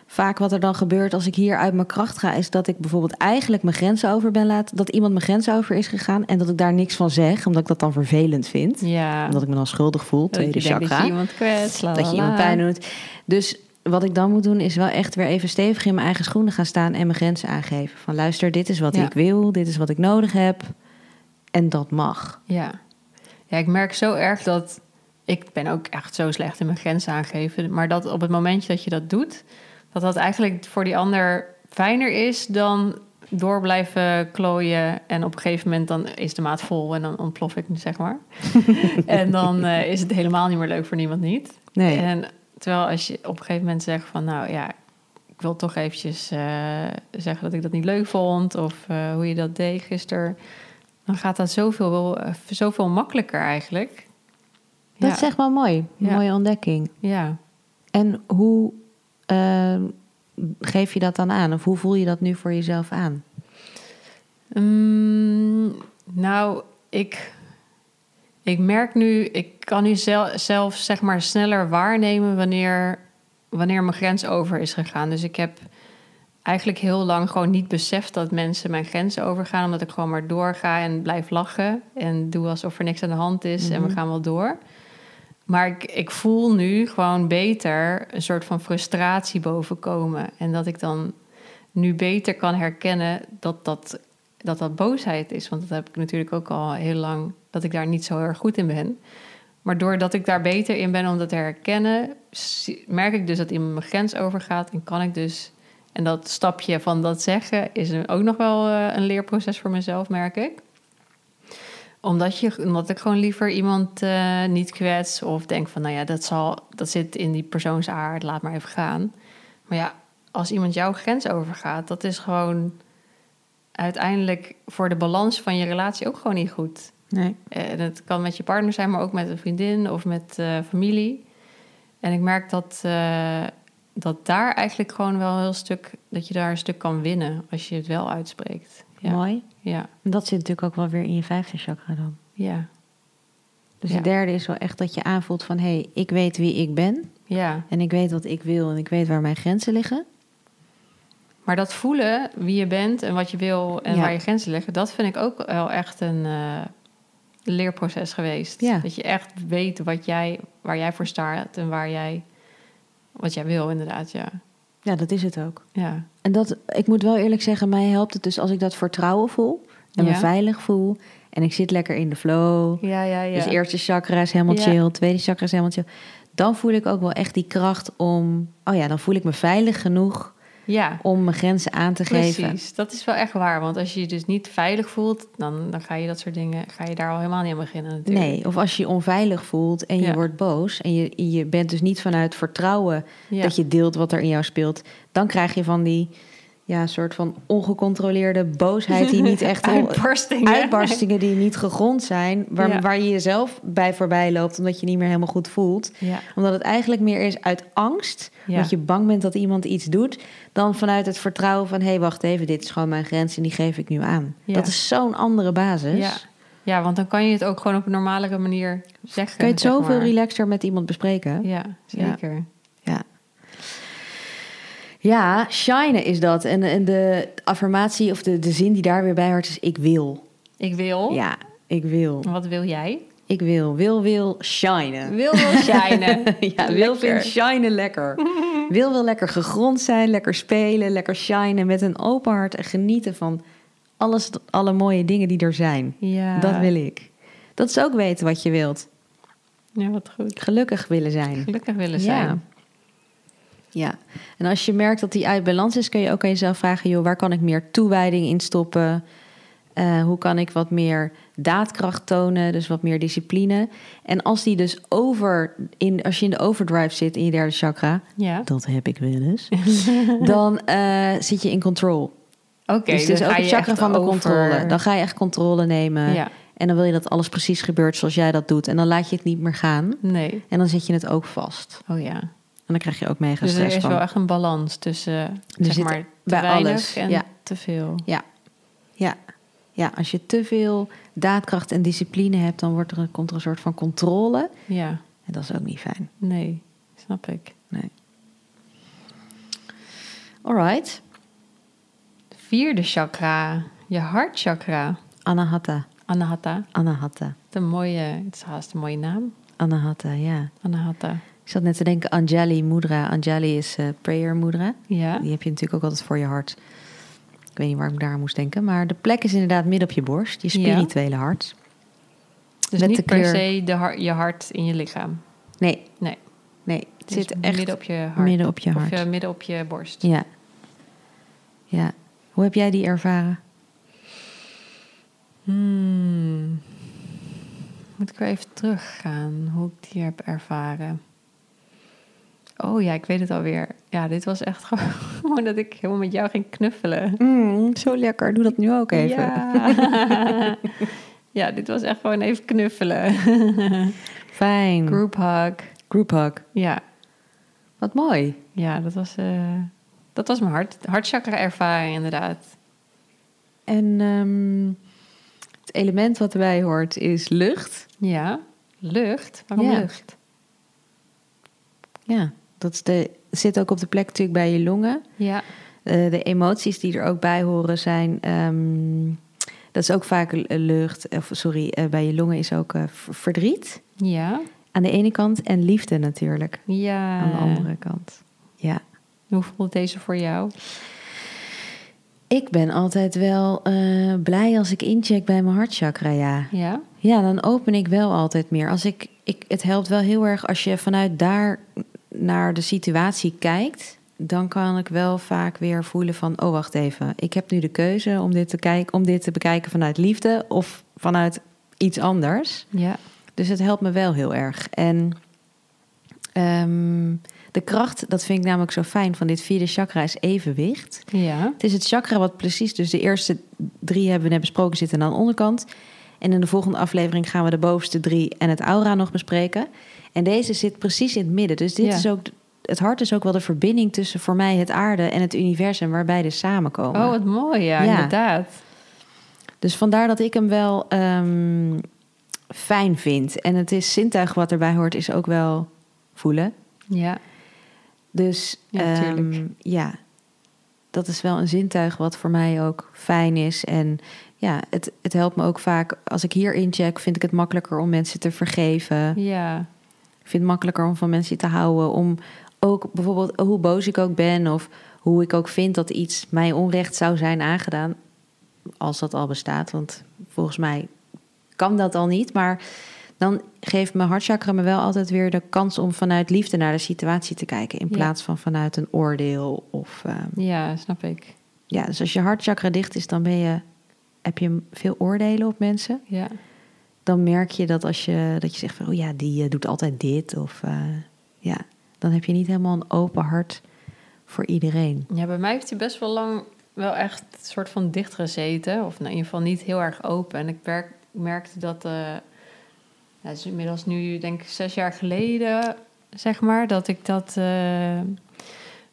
[SPEAKER 2] vaak wat er dan gebeurt als ik hier uit mijn kracht ga, is dat ik bijvoorbeeld eigenlijk mijn grenzen over ben laten. Dat iemand mijn grenzen over is gegaan en dat ik daar niks van zeg, omdat ik dat dan vervelend vind.
[SPEAKER 1] Ja.
[SPEAKER 2] Omdat ik me dan schuldig voel,
[SPEAKER 1] Dat je
[SPEAKER 2] tweede
[SPEAKER 1] denkt
[SPEAKER 2] chakra.
[SPEAKER 1] Dat je iemand kwetst. la,
[SPEAKER 2] Dat
[SPEAKER 1] la,
[SPEAKER 2] je iemand
[SPEAKER 1] la.
[SPEAKER 2] pijn doet. Dus wat ik dan moet doen is wel echt weer even stevig in mijn eigen schoenen gaan staan en mijn grenzen aangeven. Van luister, dit is wat
[SPEAKER 1] Ja.
[SPEAKER 2] ik wil, dit is wat ik nodig heb. En dat mag.
[SPEAKER 1] Ja. ja, ik merk zo erg dat... Ik ben ook echt zo slecht in mijn grenzen aangeven. Maar dat op het momentje dat je dat doet... dat dat eigenlijk voor die ander fijner is dan door blijven klooien. En op een gegeven moment dan is de maat vol en dan ontplof ik, zeg maar. en dan eh, is het helemaal niet meer leuk voor niemand niet.
[SPEAKER 2] Nee.
[SPEAKER 1] En Terwijl als je op een gegeven moment zegt van nou ja, ik wil toch eventjes eh, zeggen dat ik dat niet leuk vond of eh, hoe je dat deed gisteren. Dan gaat dat zoveel, wel, eh, zoveel makkelijker eigenlijk.
[SPEAKER 2] Dat
[SPEAKER 1] ja.
[SPEAKER 2] is echt wel mooi. Een
[SPEAKER 1] Ja.
[SPEAKER 2] Mooie ontdekking.
[SPEAKER 1] Ja.
[SPEAKER 2] En hoe eh, geef je dat dan aan? Of hoe voel je dat nu voor jezelf aan?
[SPEAKER 1] Mm, nou, ik, ik merk nu, ik kan nu zelf, zelf zeg maar sneller waarnemen wanneer, wanneer mijn grens over is gegaan. Dus ik heb eigenlijk heel lang gewoon niet beseft dat mensen mijn grens overgaan, omdat ik gewoon maar doorga en blijf lachen en doe alsof er niks aan de hand is en we gaan wel door. Maar ik, ik voel nu gewoon beter een soort van frustratie bovenkomen. En dat ik dan nu beter kan herkennen dat dat, dat, dat boosheid is. Want dat heb ik natuurlijk ook al heel lang, dat ik daar niet zo heel erg goed in ben. Maar doordat ik daar beter in ben om dat te herkennen, zie- merk ik dus dat iemand mijn grens overgaat. En kan ik dus, en dat stapje van dat zeggen is een- ook nog wel eh, een leerproces voor mezelf, merk ik omdat, je, omdat ik gewoon liever iemand eh, niet kwets of denk van, nou ja, dat, zal, dat zit in die persoonsaard, laat maar even gaan. Maar ja, als iemand jouw grens overgaat, dat is gewoon uiteindelijk voor de balans van je relatie ook gewoon niet goed.
[SPEAKER 2] Nee.
[SPEAKER 1] En het kan met je partner zijn, maar ook met een vriendin of met eh, familie. En ik merk dat, eh, dat daar eigenlijk gewoon wel een heel stuk, dat je daar een stuk kan winnen als je het wel uitspreekt. Ja.
[SPEAKER 2] Mooi.
[SPEAKER 1] Ja,
[SPEAKER 2] En dat zit natuurlijk ook wel weer in je vijfde chakra dan.
[SPEAKER 1] ja,
[SPEAKER 2] Dus
[SPEAKER 1] Ja.
[SPEAKER 2] de derde is wel echt dat je aanvoelt van... hé, hey, ik weet wie ik ben
[SPEAKER 1] ja.
[SPEAKER 2] en ik weet wat ik wil... en ik weet waar mijn grenzen liggen.
[SPEAKER 1] Maar dat voelen wie je bent en wat je wil en
[SPEAKER 2] Ja.
[SPEAKER 1] waar je grenzen liggen, dat vind ik ook wel echt een eh, leerproces geweest.
[SPEAKER 2] Ja.
[SPEAKER 1] Dat je echt weet wat jij, waar jij voor staat en waar jij, wat jij wil, inderdaad. Ja.
[SPEAKER 2] Ja, dat is het ook.
[SPEAKER 1] ja.
[SPEAKER 2] En dat, ik moet wel eerlijk zeggen, mij helpt het dus als ik dat vertrouwen voel... en me
[SPEAKER 1] Ja.
[SPEAKER 2] veilig voel en ik zit lekker in de flow.
[SPEAKER 1] Ja, ja, ja.
[SPEAKER 2] Dus eerste chakra is helemaal
[SPEAKER 1] Ja.
[SPEAKER 2] chill, tweede chakra is helemaal chill. Dan voel ik ook wel echt die kracht om... oh ja, dan voel ik me veilig genoeg
[SPEAKER 1] ja.
[SPEAKER 2] om mijn grenzen aan te geven.
[SPEAKER 1] Precies, dat is wel echt waar. Want als je je dus niet veilig voelt, dan, dan ga je dat soort dingen, ga je daar al helemaal niet aan beginnen natuurlijk.
[SPEAKER 2] Nee, of als je je onveilig voelt en je
[SPEAKER 1] Ja.
[SPEAKER 2] wordt boos... en je, je bent dus niet vanuit vertrouwen
[SPEAKER 1] Ja.
[SPEAKER 2] dat je deelt wat er in jou speelt... dan krijg je van die ja, soort van ongecontroleerde boosheid... die niet echt...
[SPEAKER 1] Uitbarstingen.
[SPEAKER 2] uitbarstingen die niet gegrond zijn... Waar,
[SPEAKER 1] Ja.
[SPEAKER 2] waar je jezelf bij voorbij loopt omdat je niet meer helemaal goed voelt...
[SPEAKER 1] Ja.
[SPEAKER 2] Omdat het eigenlijk meer is uit angst,
[SPEAKER 1] Ja.
[SPEAKER 2] dat je bang bent dat iemand iets doet, dan vanuit het vertrouwen van hé, hey, wacht even, dit is gewoon mijn grens en die geef ik nu aan.
[SPEAKER 1] Ja.
[SPEAKER 2] Dat is zo'n andere basis.
[SPEAKER 1] Ja. ja, want dan kan je het ook gewoon op een normalere manier zeggen.
[SPEAKER 2] Kun je het
[SPEAKER 1] zeg
[SPEAKER 2] zoveel
[SPEAKER 1] maar.
[SPEAKER 2] relaxter met iemand bespreken?
[SPEAKER 1] Ja, zeker.
[SPEAKER 2] Ja. Ja, shine is dat. En, en de affirmatie of de, de zin die daar weer bij hoort is ik wil.
[SPEAKER 1] Ik wil.
[SPEAKER 2] Ja, ik wil.
[SPEAKER 1] Wat wil jij?
[SPEAKER 2] Ik wil. Wil, wil, shinen.
[SPEAKER 1] Wil wil shinen.
[SPEAKER 2] ja, wil vindt
[SPEAKER 1] Lekker.
[SPEAKER 2] shinen lekker. wil wil lekker gegrond zijn, lekker spelen, lekker shinen met een open hart en genieten van alles, alle mooie dingen die er zijn.
[SPEAKER 1] Ja.
[SPEAKER 2] Dat wil ik. Dat is ook weten wat je wilt.
[SPEAKER 1] Ja, wat goed.
[SPEAKER 2] Gelukkig willen zijn.
[SPEAKER 1] Gelukkig willen zijn.
[SPEAKER 2] Ja. Ja. En als je merkt dat die uit balans is, kun je ook aan jezelf vragen: joh, waar kan ik meer toewijding in stoppen? Eh, hoe kan ik wat meer daadkracht tonen, dus wat meer discipline? En als die dus over, in, als je in de overdrive zit in je derde chakra,
[SPEAKER 1] Ja.
[SPEAKER 2] dat heb ik wel eens, dan eh, zit je in control.
[SPEAKER 1] Oké,
[SPEAKER 2] dus het is
[SPEAKER 1] dan
[SPEAKER 2] ook
[SPEAKER 1] ga
[SPEAKER 2] het
[SPEAKER 1] je
[SPEAKER 2] chakra
[SPEAKER 1] echt
[SPEAKER 2] van de
[SPEAKER 1] over-
[SPEAKER 2] controle. Dan ga je echt controle nemen.
[SPEAKER 1] Ja.
[SPEAKER 2] En dan wil je dat alles precies gebeurt zoals jij dat doet. En dan laat je het niet meer gaan.
[SPEAKER 1] Nee.
[SPEAKER 2] En dan zit je het ook vast.
[SPEAKER 1] Oh ja.
[SPEAKER 2] En dan krijg je ook mega
[SPEAKER 1] Dus er
[SPEAKER 2] stress
[SPEAKER 1] is
[SPEAKER 2] van.
[SPEAKER 1] wel echt een balans tussen zeg
[SPEAKER 2] zit
[SPEAKER 1] maar, te
[SPEAKER 2] bij
[SPEAKER 1] weinig
[SPEAKER 2] alles,
[SPEAKER 1] en
[SPEAKER 2] ja.
[SPEAKER 1] te veel.
[SPEAKER 2] Ja. ja. Ja, als je te veel daadkracht en discipline hebt, dan wordt er een, komt er een soort van controle.
[SPEAKER 1] Ja,
[SPEAKER 2] En dat is ook niet fijn.
[SPEAKER 1] nee. Snap ik.
[SPEAKER 2] Nee. Alright.
[SPEAKER 1] Vierde chakra. Je hartchakra.
[SPEAKER 2] Anahata.
[SPEAKER 1] Anahata.
[SPEAKER 2] Anahata.
[SPEAKER 1] De mooie, het is haast een mooie naam.
[SPEAKER 2] Anahata, ja.
[SPEAKER 1] Anahata.
[SPEAKER 2] Ik zat net te denken, Anjali Mudra. Anjali is eh, prayer mudra.
[SPEAKER 1] Ja.
[SPEAKER 2] Die heb je natuurlijk ook altijd voor je hart. Ik weet niet waarom ik daar aan moest denken. Maar de plek is inderdaad midden op je borst. Je
[SPEAKER 1] Ja.
[SPEAKER 2] spirituele hart.
[SPEAKER 1] Dus
[SPEAKER 2] Met
[SPEAKER 1] niet
[SPEAKER 2] de
[SPEAKER 1] per
[SPEAKER 2] kleur.
[SPEAKER 1] se de har- je hart in je lichaam.
[SPEAKER 2] Nee,
[SPEAKER 1] Nee.
[SPEAKER 2] nee. Het
[SPEAKER 1] Dus
[SPEAKER 2] zit echt
[SPEAKER 1] midden op je hart.
[SPEAKER 2] midden op je
[SPEAKER 1] Of
[SPEAKER 2] hart.
[SPEAKER 1] eh, midden op je borst.
[SPEAKER 2] Ja. Ja. Hoe heb jij die ervaren?
[SPEAKER 1] Hmm. Moet ik weer even teruggaan hoe ik die heb ervaren. Oh ja, ik weet het alweer. Ja, dit was echt gewoon dat ik helemaal met jou ging knuffelen.
[SPEAKER 2] Mm, zo lekker, doe dat nu ook even.
[SPEAKER 1] Ja. ja, dit was echt gewoon even knuffelen.
[SPEAKER 2] Hmm. Fijn.
[SPEAKER 1] Group hug.
[SPEAKER 2] Group hug.
[SPEAKER 1] Ja,
[SPEAKER 2] Wat mooi.
[SPEAKER 1] ja dat, was, eh, dat was mijn hart, hartchakra ervaring inderdaad.
[SPEAKER 2] En ehm, het element wat erbij hoort is lucht.
[SPEAKER 1] Ja, lucht. Waarom
[SPEAKER 2] Ja.
[SPEAKER 1] lucht?
[SPEAKER 2] Ja, dat is de, zit ook op de plek natuurlijk bij je longen.
[SPEAKER 1] Ja,
[SPEAKER 2] Eh, de emoties die er ook bij horen zijn. ehm, dat is ook vaak eh, lucht. Of sorry, eh, bij je longen is ook eh, v- verdriet.
[SPEAKER 1] ja,
[SPEAKER 2] Aan de ene kant en liefde natuurlijk.
[SPEAKER 1] ja.
[SPEAKER 2] aan de andere kant. Ja.
[SPEAKER 1] Hoe voelt deze voor jou?
[SPEAKER 2] Ik ben altijd wel eh, blij als ik incheck bij mijn hartchakra, ja.
[SPEAKER 1] Ja,
[SPEAKER 2] Ja, dan open ik wel altijd meer. Als ik, ik, het helpt wel heel erg als je vanuit daar naar de situatie kijkt. Dan kan ik wel vaak weer voelen van, oh wacht even, ik heb nu de keuze om dit te, kijken, om dit te bekijken vanuit liefde of vanuit iets anders.
[SPEAKER 1] ja,
[SPEAKER 2] Dus het helpt me wel heel erg. En ehm, de kracht, dat vind ik namelijk zo fijn, van dit vierde chakra is evenwicht.
[SPEAKER 1] ja,
[SPEAKER 2] Het is het chakra wat precies, dus de eerste drie hebben we net besproken, zitten aan de onderkant. En in de volgende aflevering gaan we de bovenste drie en het aura nog bespreken. En deze zit precies in het midden. Dus dit
[SPEAKER 1] Ja.
[SPEAKER 2] is ook, het hart is ook wel de verbinding tussen voor mij het aarde en het universum, waar beide samenkomen.
[SPEAKER 1] Oh, wat mooi, ja,
[SPEAKER 2] Ja.
[SPEAKER 1] inderdaad.
[SPEAKER 2] Dus vandaar dat ik hem wel ehm, fijn vind. En het is zintuig wat erbij hoort, is ook wel voelen.
[SPEAKER 1] Ja,
[SPEAKER 2] Dus
[SPEAKER 1] Ja,
[SPEAKER 2] ja,
[SPEAKER 1] tuurlijk.
[SPEAKER 2] ja, dat is wel een zintuig wat voor mij ook fijn is. En ja, het, het helpt me ook vaak. Als ik hier incheck, vind ik het makkelijker om mensen te vergeven.
[SPEAKER 1] ja,
[SPEAKER 2] Ik vind het makkelijker om van mensen te houden. Om ook bijvoorbeeld hoe boos ik ook ben of hoe ik ook vind dat iets mij onrecht zou zijn aangedaan. Als dat al bestaat, want volgens mij kan dat al niet. Maar dan geeft mijn hartchakra me wel altijd weer de kans om vanuit liefde naar de situatie te kijken. In
[SPEAKER 1] Ja.
[SPEAKER 2] plaats van vanuit een oordeel. Of, ehm,
[SPEAKER 1] ja, snap ik.
[SPEAKER 2] ja, dus als je hartchakra dicht is, dan ben je, heb je veel oordelen op mensen
[SPEAKER 1] Ja,
[SPEAKER 2] dan merk je dat als je, dat je zegt van, oh ja, die eh, doet altijd dit. Of eh, ja, dan heb je niet helemaal een open hart voor iedereen.
[SPEAKER 1] ja bij mij heeft hij best wel lang wel echt een soort van dicht gezeten. Of nou, in ieder geval niet heel erg open. En ik merk, merkte dat, eh nou, het is inmiddels nu denk ik zes jaar geleden, zeg maar, dat ik dat... eh,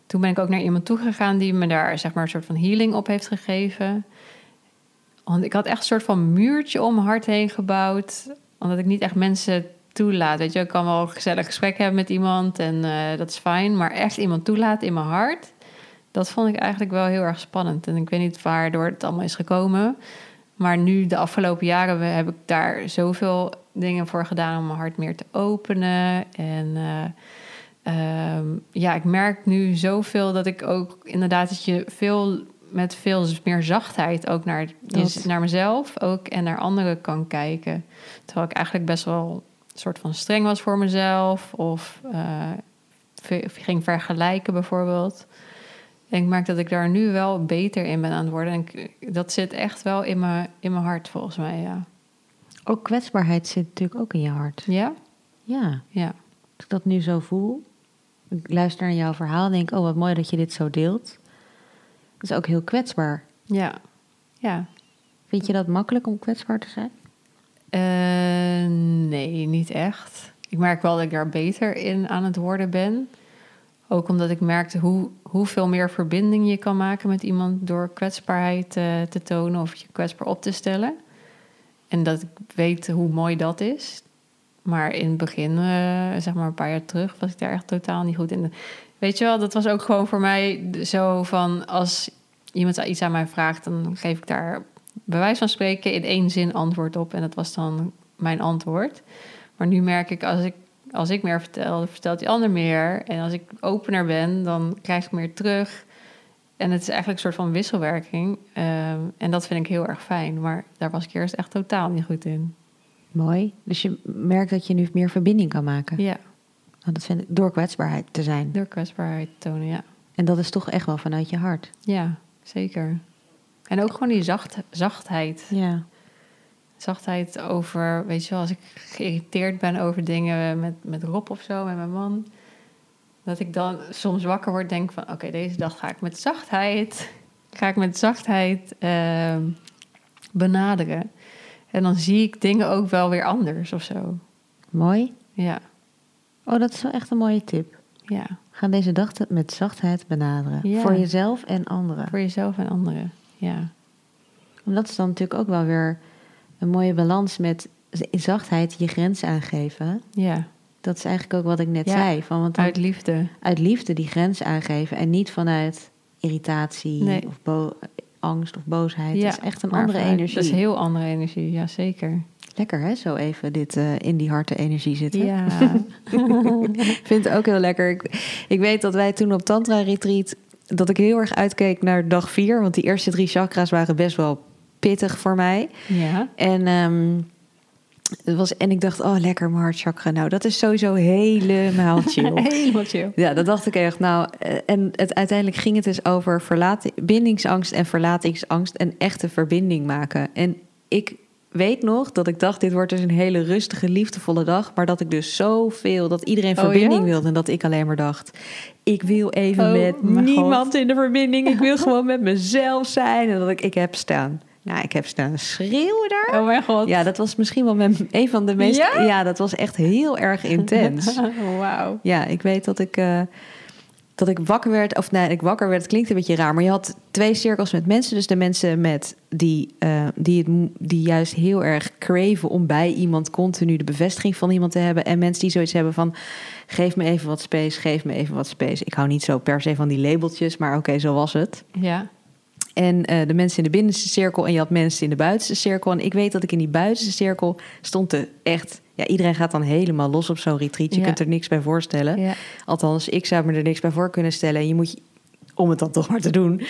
[SPEAKER 1] toen ben ik ook naar iemand toegegaan die me daar zeg maar een soort van healing op heeft gegeven. Want ik had echt een soort van muurtje om mijn hart heen gebouwd. Omdat ik niet echt mensen toelaat. Weet je, ik kan wel een gezellig gesprek hebben met iemand en eh, dat is fijn. Maar echt iemand toelaat in mijn hart. Dat vond ik eigenlijk wel heel erg spannend. En ik weet niet waardoor het allemaal is gekomen. Maar nu, de afgelopen jaren, we- heb ik daar zoveel dingen voor gedaan om mijn hart meer te openen. En eh, ehm, ja, ik merk nu zoveel dat ik ook inderdaad dat je veel met veel meer zachtheid ook naar,
[SPEAKER 2] Dat.
[SPEAKER 1] Dus naar mezelf ook en naar anderen kan kijken. Terwijl ik eigenlijk best wel een soort van streng was voor mezelf of eh, ve- ging vergelijken bijvoorbeeld. En ik merk dat ik daar nu wel beter in ben aan het worden. En ik- dat zit echt wel in mijn, in mijn hart, volgens mij, ja.
[SPEAKER 2] Ook kwetsbaarheid zit natuurlijk ook in je hart.
[SPEAKER 1] Ja?
[SPEAKER 2] Ja,
[SPEAKER 1] Ja.
[SPEAKER 2] als ik dat nu zo voel. Ik luister naar jouw verhaal en denk, oh wat mooi dat je dit zo deelt. Dat is ook heel kwetsbaar.
[SPEAKER 1] Ja. Ja.
[SPEAKER 2] Vind je dat makkelijk om kwetsbaar te zijn?
[SPEAKER 1] Eh, nee, niet echt. Ik merk wel dat ik daar beter in aan het worden ben. Ook omdat ik merkte hoe, hoeveel meer verbinding je kan maken met iemand door kwetsbaarheid eh, te tonen of je kwetsbaar op te stellen. En dat ik weet hoe mooi dat is. Maar in het begin, eh, zeg maar een paar jaar terug, was ik daar echt totaal niet goed in. Weet je wel, dat was ook gewoon voor mij zo van als iemand iets aan mij vraagt, dan geef ik daar bij wijze van spreken in één zin antwoord op. En dat was dan mijn antwoord. Maar nu merk ik als ik, als ik meer vertel, dan vertelt die ander meer. En als ik opener ben, dan krijg ik meer terug. En het is eigenlijk een soort van wisselwerking. Ehm, en dat vind ik heel erg fijn. Maar daar was ik eerst echt totaal niet goed in.
[SPEAKER 2] Mooi. Dus je merkt dat je nu meer verbinding kan maken.
[SPEAKER 1] Ja,
[SPEAKER 2] Nou, dat vind ik, door kwetsbaarheid te zijn.
[SPEAKER 1] door kwetsbaarheid te tonen, ja.
[SPEAKER 2] En dat is toch echt wel vanuit je hart.
[SPEAKER 1] Ja, zeker. En ook gewoon die zacht, zachtheid.
[SPEAKER 2] Ja.
[SPEAKER 1] zachtheid over, weet je wel, als ik geïrriteerd ben over dingen met, met Rob of zo, met mijn man. Dat ik dan soms wakker word, denk van oké, deze dag ga ik met zachtheid, ga ik met zachtheid ehm, benaderen. En dan zie ik dingen ook wel weer anders of zo.
[SPEAKER 2] Mooi.
[SPEAKER 1] Ja,
[SPEAKER 2] Oh, dat is wel echt een mooie tip.
[SPEAKER 1] ja.
[SPEAKER 2] Ga deze dag te- met zachtheid benaderen.
[SPEAKER 1] Ja.
[SPEAKER 2] Voor jezelf en anderen.
[SPEAKER 1] Voor jezelf en anderen. Ja,
[SPEAKER 2] Want dat is dan natuurlijk ook wel weer een mooie balans met z- zachtheid je grens aangeven.
[SPEAKER 1] ja.
[SPEAKER 2] Dat is eigenlijk ook wat ik net
[SPEAKER 1] Ja.
[SPEAKER 2] zei. Van, want dan-
[SPEAKER 1] uit liefde.
[SPEAKER 2] uit liefde die grens aangeven en niet vanuit irritatie
[SPEAKER 1] Nee.
[SPEAKER 2] of bo- angst of boosheid.
[SPEAKER 1] ja,
[SPEAKER 2] dat is echt een
[SPEAKER 1] maar
[SPEAKER 2] andere
[SPEAKER 1] vanuit-
[SPEAKER 2] energie.
[SPEAKER 1] Dat is heel andere energie, ja zeker.
[SPEAKER 2] Lekker hè, zo even dit eh, in die harte energie zitten.
[SPEAKER 1] Ja,
[SPEAKER 2] Ik vind het ook heel lekker. Ik, ik weet dat wij toen op Tantra Retreat, dat ik heel erg uitkeek naar dag vier. Want die eerste drie chakra's waren best wel pittig voor mij.
[SPEAKER 1] ja.
[SPEAKER 2] En, ehm, het was, en ik dacht, oh lekker mijn hartchakra. Nou, dat is sowieso helemaal chill.
[SPEAKER 1] helemaal chill.
[SPEAKER 2] Ja, dat dacht ik echt. Nou, eh, en het, uiteindelijk ging het dus over verlating, bindingsangst en verlatingsangst en echte verbinding maken. En ik weet nog dat ik dacht, dit wordt dus een hele rustige, liefdevolle dag. Maar dat ik dus zoveel, dat iedereen
[SPEAKER 1] Oh,
[SPEAKER 2] verbinding
[SPEAKER 1] ja?
[SPEAKER 2] wilde. En dat ik alleen maar dacht, ik wil even
[SPEAKER 1] Oh,
[SPEAKER 2] met
[SPEAKER 1] mijn
[SPEAKER 2] niemand in de verbinding. Ik wil gewoon met mezelf zijn. En dat ik, ik heb staan. Nou, ik heb staan schreeuwen daar.
[SPEAKER 1] Oh mijn god.
[SPEAKER 2] Ja, dat was misschien wel mijn, een van de meest...
[SPEAKER 1] Ja?
[SPEAKER 2] ja, dat was echt heel erg intens.
[SPEAKER 1] Wauw.
[SPEAKER 2] Ja, ik weet dat ik, eh, dat ik wakker werd. Of nee, ik wakker werd. Het klinkt een beetje raar. Maar je had twee cirkels met mensen. Dus de mensen met die, eh, die, het, mo- die juist heel erg craven om bij iemand continu de bevestiging van iemand te hebben. En mensen die zoiets hebben van: geef me even wat space, geef me even wat space. Ik hou niet zo per se van die labeltjes, maar oké, zo was het.
[SPEAKER 1] Ja.
[SPEAKER 2] En eh, de mensen in de binnenste cirkel en je had mensen in de buitenste cirkel. En ik weet dat ik in die buitenste cirkel stond er echt... Ja, iedereen gaat dan helemaal los op zo'n retreat. Je
[SPEAKER 1] Ja.
[SPEAKER 2] kunt er niks bij voorstellen.
[SPEAKER 1] Ja.
[SPEAKER 2] Althans, ik zou me er niks bij voor kunnen stellen. En je moet, je- om het dan toch maar te doen...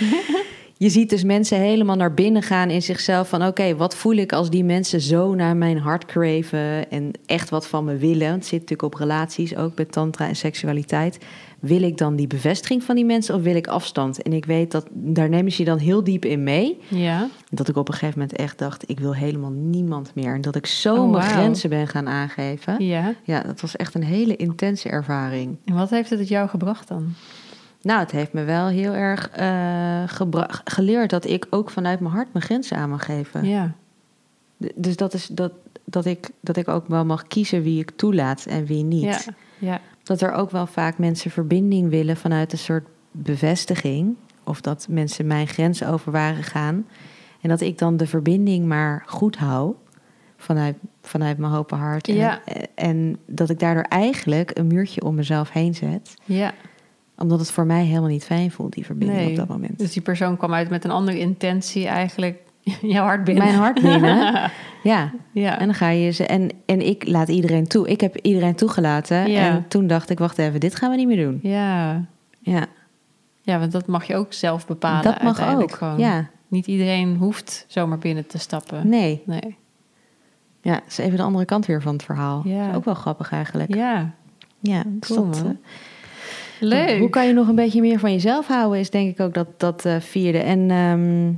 [SPEAKER 2] je ziet dus mensen helemaal naar binnen gaan in zichzelf. Van oké, wat voel ik als die mensen zo naar mijn hart craven... en echt wat van me willen. Want het zit natuurlijk op relaties, ook bij tantra en seksualiteit. Wil ik dan die bevestiging van die mensen of wil ik afstand? En ik weet dat, daar nemen ze je dan heel diep in mee...
[SPEAKER 1] Ja.
[SPEAKER 2] Dat ik op een gegeven moment echt dacht, ik wil helemaal niemand meer. En dat ik zo
[SPEAKER 1] Oh,
[SPEAKER 2] mijn
[SPEAKER 1] wauw.
[SPEAKER 2] grenzen ben gaan aangeven.
[SPEAKER 1] Ja.
[SPEAKER 2] Ja, dat was echt een hele intense ervaring.
[SPEAKER 1] En wat heeft het jou gebracht dan?
[SPEAKER 2] Nou, het heeft me wel heel erg eh, gebra- geleerd dat ik ook vanuit mijn hart mijn grenzen aan mag geven.
[SPEAKER 1] Ja.
[SPEAKER 2] D- Dus dat is dat, dat, ik, dat ik ook wel mag kiezen wie ik toelaat en wie niet.
[SPEAKER 1] Ja. Ja.
[SPEAKER 2] Dat er ook wel vaak mensen verbinding willen vanuit een soort bevestiging. Of dat mensen mijn grenzen over waren gegaan. En dat ik dan de verbinding maar goed hou. Vanuit, vanuit mijn open hart. En,
[SPEAKER 1] Ja.
[SPEAKER 2] en dat ik daardoor eigenlijk een muurtje om mezelf heen zet.
[SPEAKER 1] ja.
[SPEAKER 2] Omdat het voor mij helemaal niet fijn voelt, die verbinding
[SPEAKER 1] Nee.
[SPEAKER 2] op dat moment.
[SPEAKER 1] Dus die persoon kwam uit met een andere intentie eigenlijk jouw hart binnen.
[SPEAKER 2] Mijn hart binnen. ja.
[SPEAKER 1] Ja.
[SPEAKER 2] En dan ga je ze. En, en ik laat iedereen toe. Ik heb iedereen toegelaten.
[SPEAKER 1] Ja.
[SPEAKER 2] En toen dacht ik, wacht even, dit gaan we niet meer doen.
[SPEAKER 1] ja.
[SPEAKER 2] Ja.
[SPEAKER 1] Ja, want dat mag je ook zelf bepalen.
[SPEAKER 2] Dat mag
[SPEAKER 1] uiteindelijk
[SPEAKER 2] ook,
[SPEAKER 1] Gewoon.
[SPEAKER 2] ja.
[SPEAKER 1] Niet iedereen hoeft zomaar binnen te stappen.
[SPEAKER 2] Nee.
[SPEAKER 1] Nee.
[SPEAKER 2] Ja, dat is even de andere kant weer van het verhaal.
[SPEAKER 1] Ja.
[SPEAKER 2] Dat is ook wel grappig eigenlijk.
[SPEAKER 1] Ja.
[SPEAKER 2] Ja, dus
[SPEAKER 1] Cool,
[SPEAKER 2] dat,
[SPEAKER 1] man.
[SPEAKER 2] eh,
[SPEAKER 1] Leuk.
[SPEAKER 2] Hoe kan je nog een beetje meer van jezelf houden, is denk ik ook dat, dat eh, vierde. En ehm,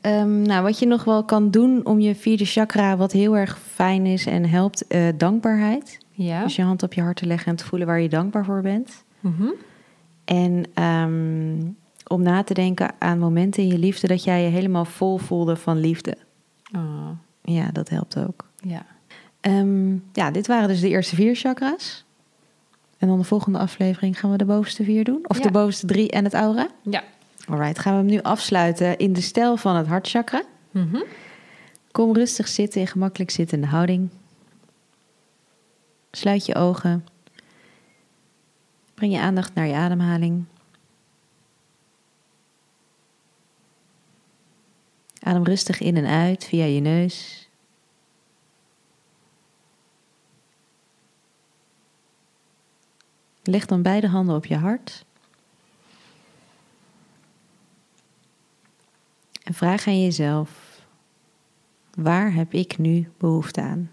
[SPEAKER 2] ehm, nou, wat je nog wel kan doen om je vierde chakra, wat heel erg fijn is en helpt, eh, dankbaarheid.
[SPEAKER 1] Ja.
[SPEAKER 2] Dus je hand op je hart te leggen en te voelen waar je dankbaar voor bent.
[SPEAKER 1] Mhm.
[SPEAKER 2] En ehm, om na te denken aan momenten in je liefde dat jij je helemaal vol voelde van liefde.
[SPEAKER 1] Oh,
[SPEAKER 2] Ja, dat helpt ook.
[SPEAKER 1] ja.
[SPEAKER 2] Ehm, ja, dit waren dus de eerste vier chakra's. En dan de volgende aflevering gaan we de bovenste vier doen. Of
[SPEAKER 1] Ja.
[SPEAKER 2] de bovenste drie en het aura.
[SPEAKER 1] Ja.
[SPEAKER 2] Alright, gaan we hem nu afsluiten in de stijl van het hartchakra.
[SPEAKER 1] Mhm.
[SPEAKER 2] Kom rustig zitten in gemakkelijk zittende houding. Sluit je ogen. Breng je aandacht naar je ademhaling. Adem rustig in en uit via je neus. Leg dan beide handen op je hart. En vraag aan jezelf: waar heb ik nu behoefte aan?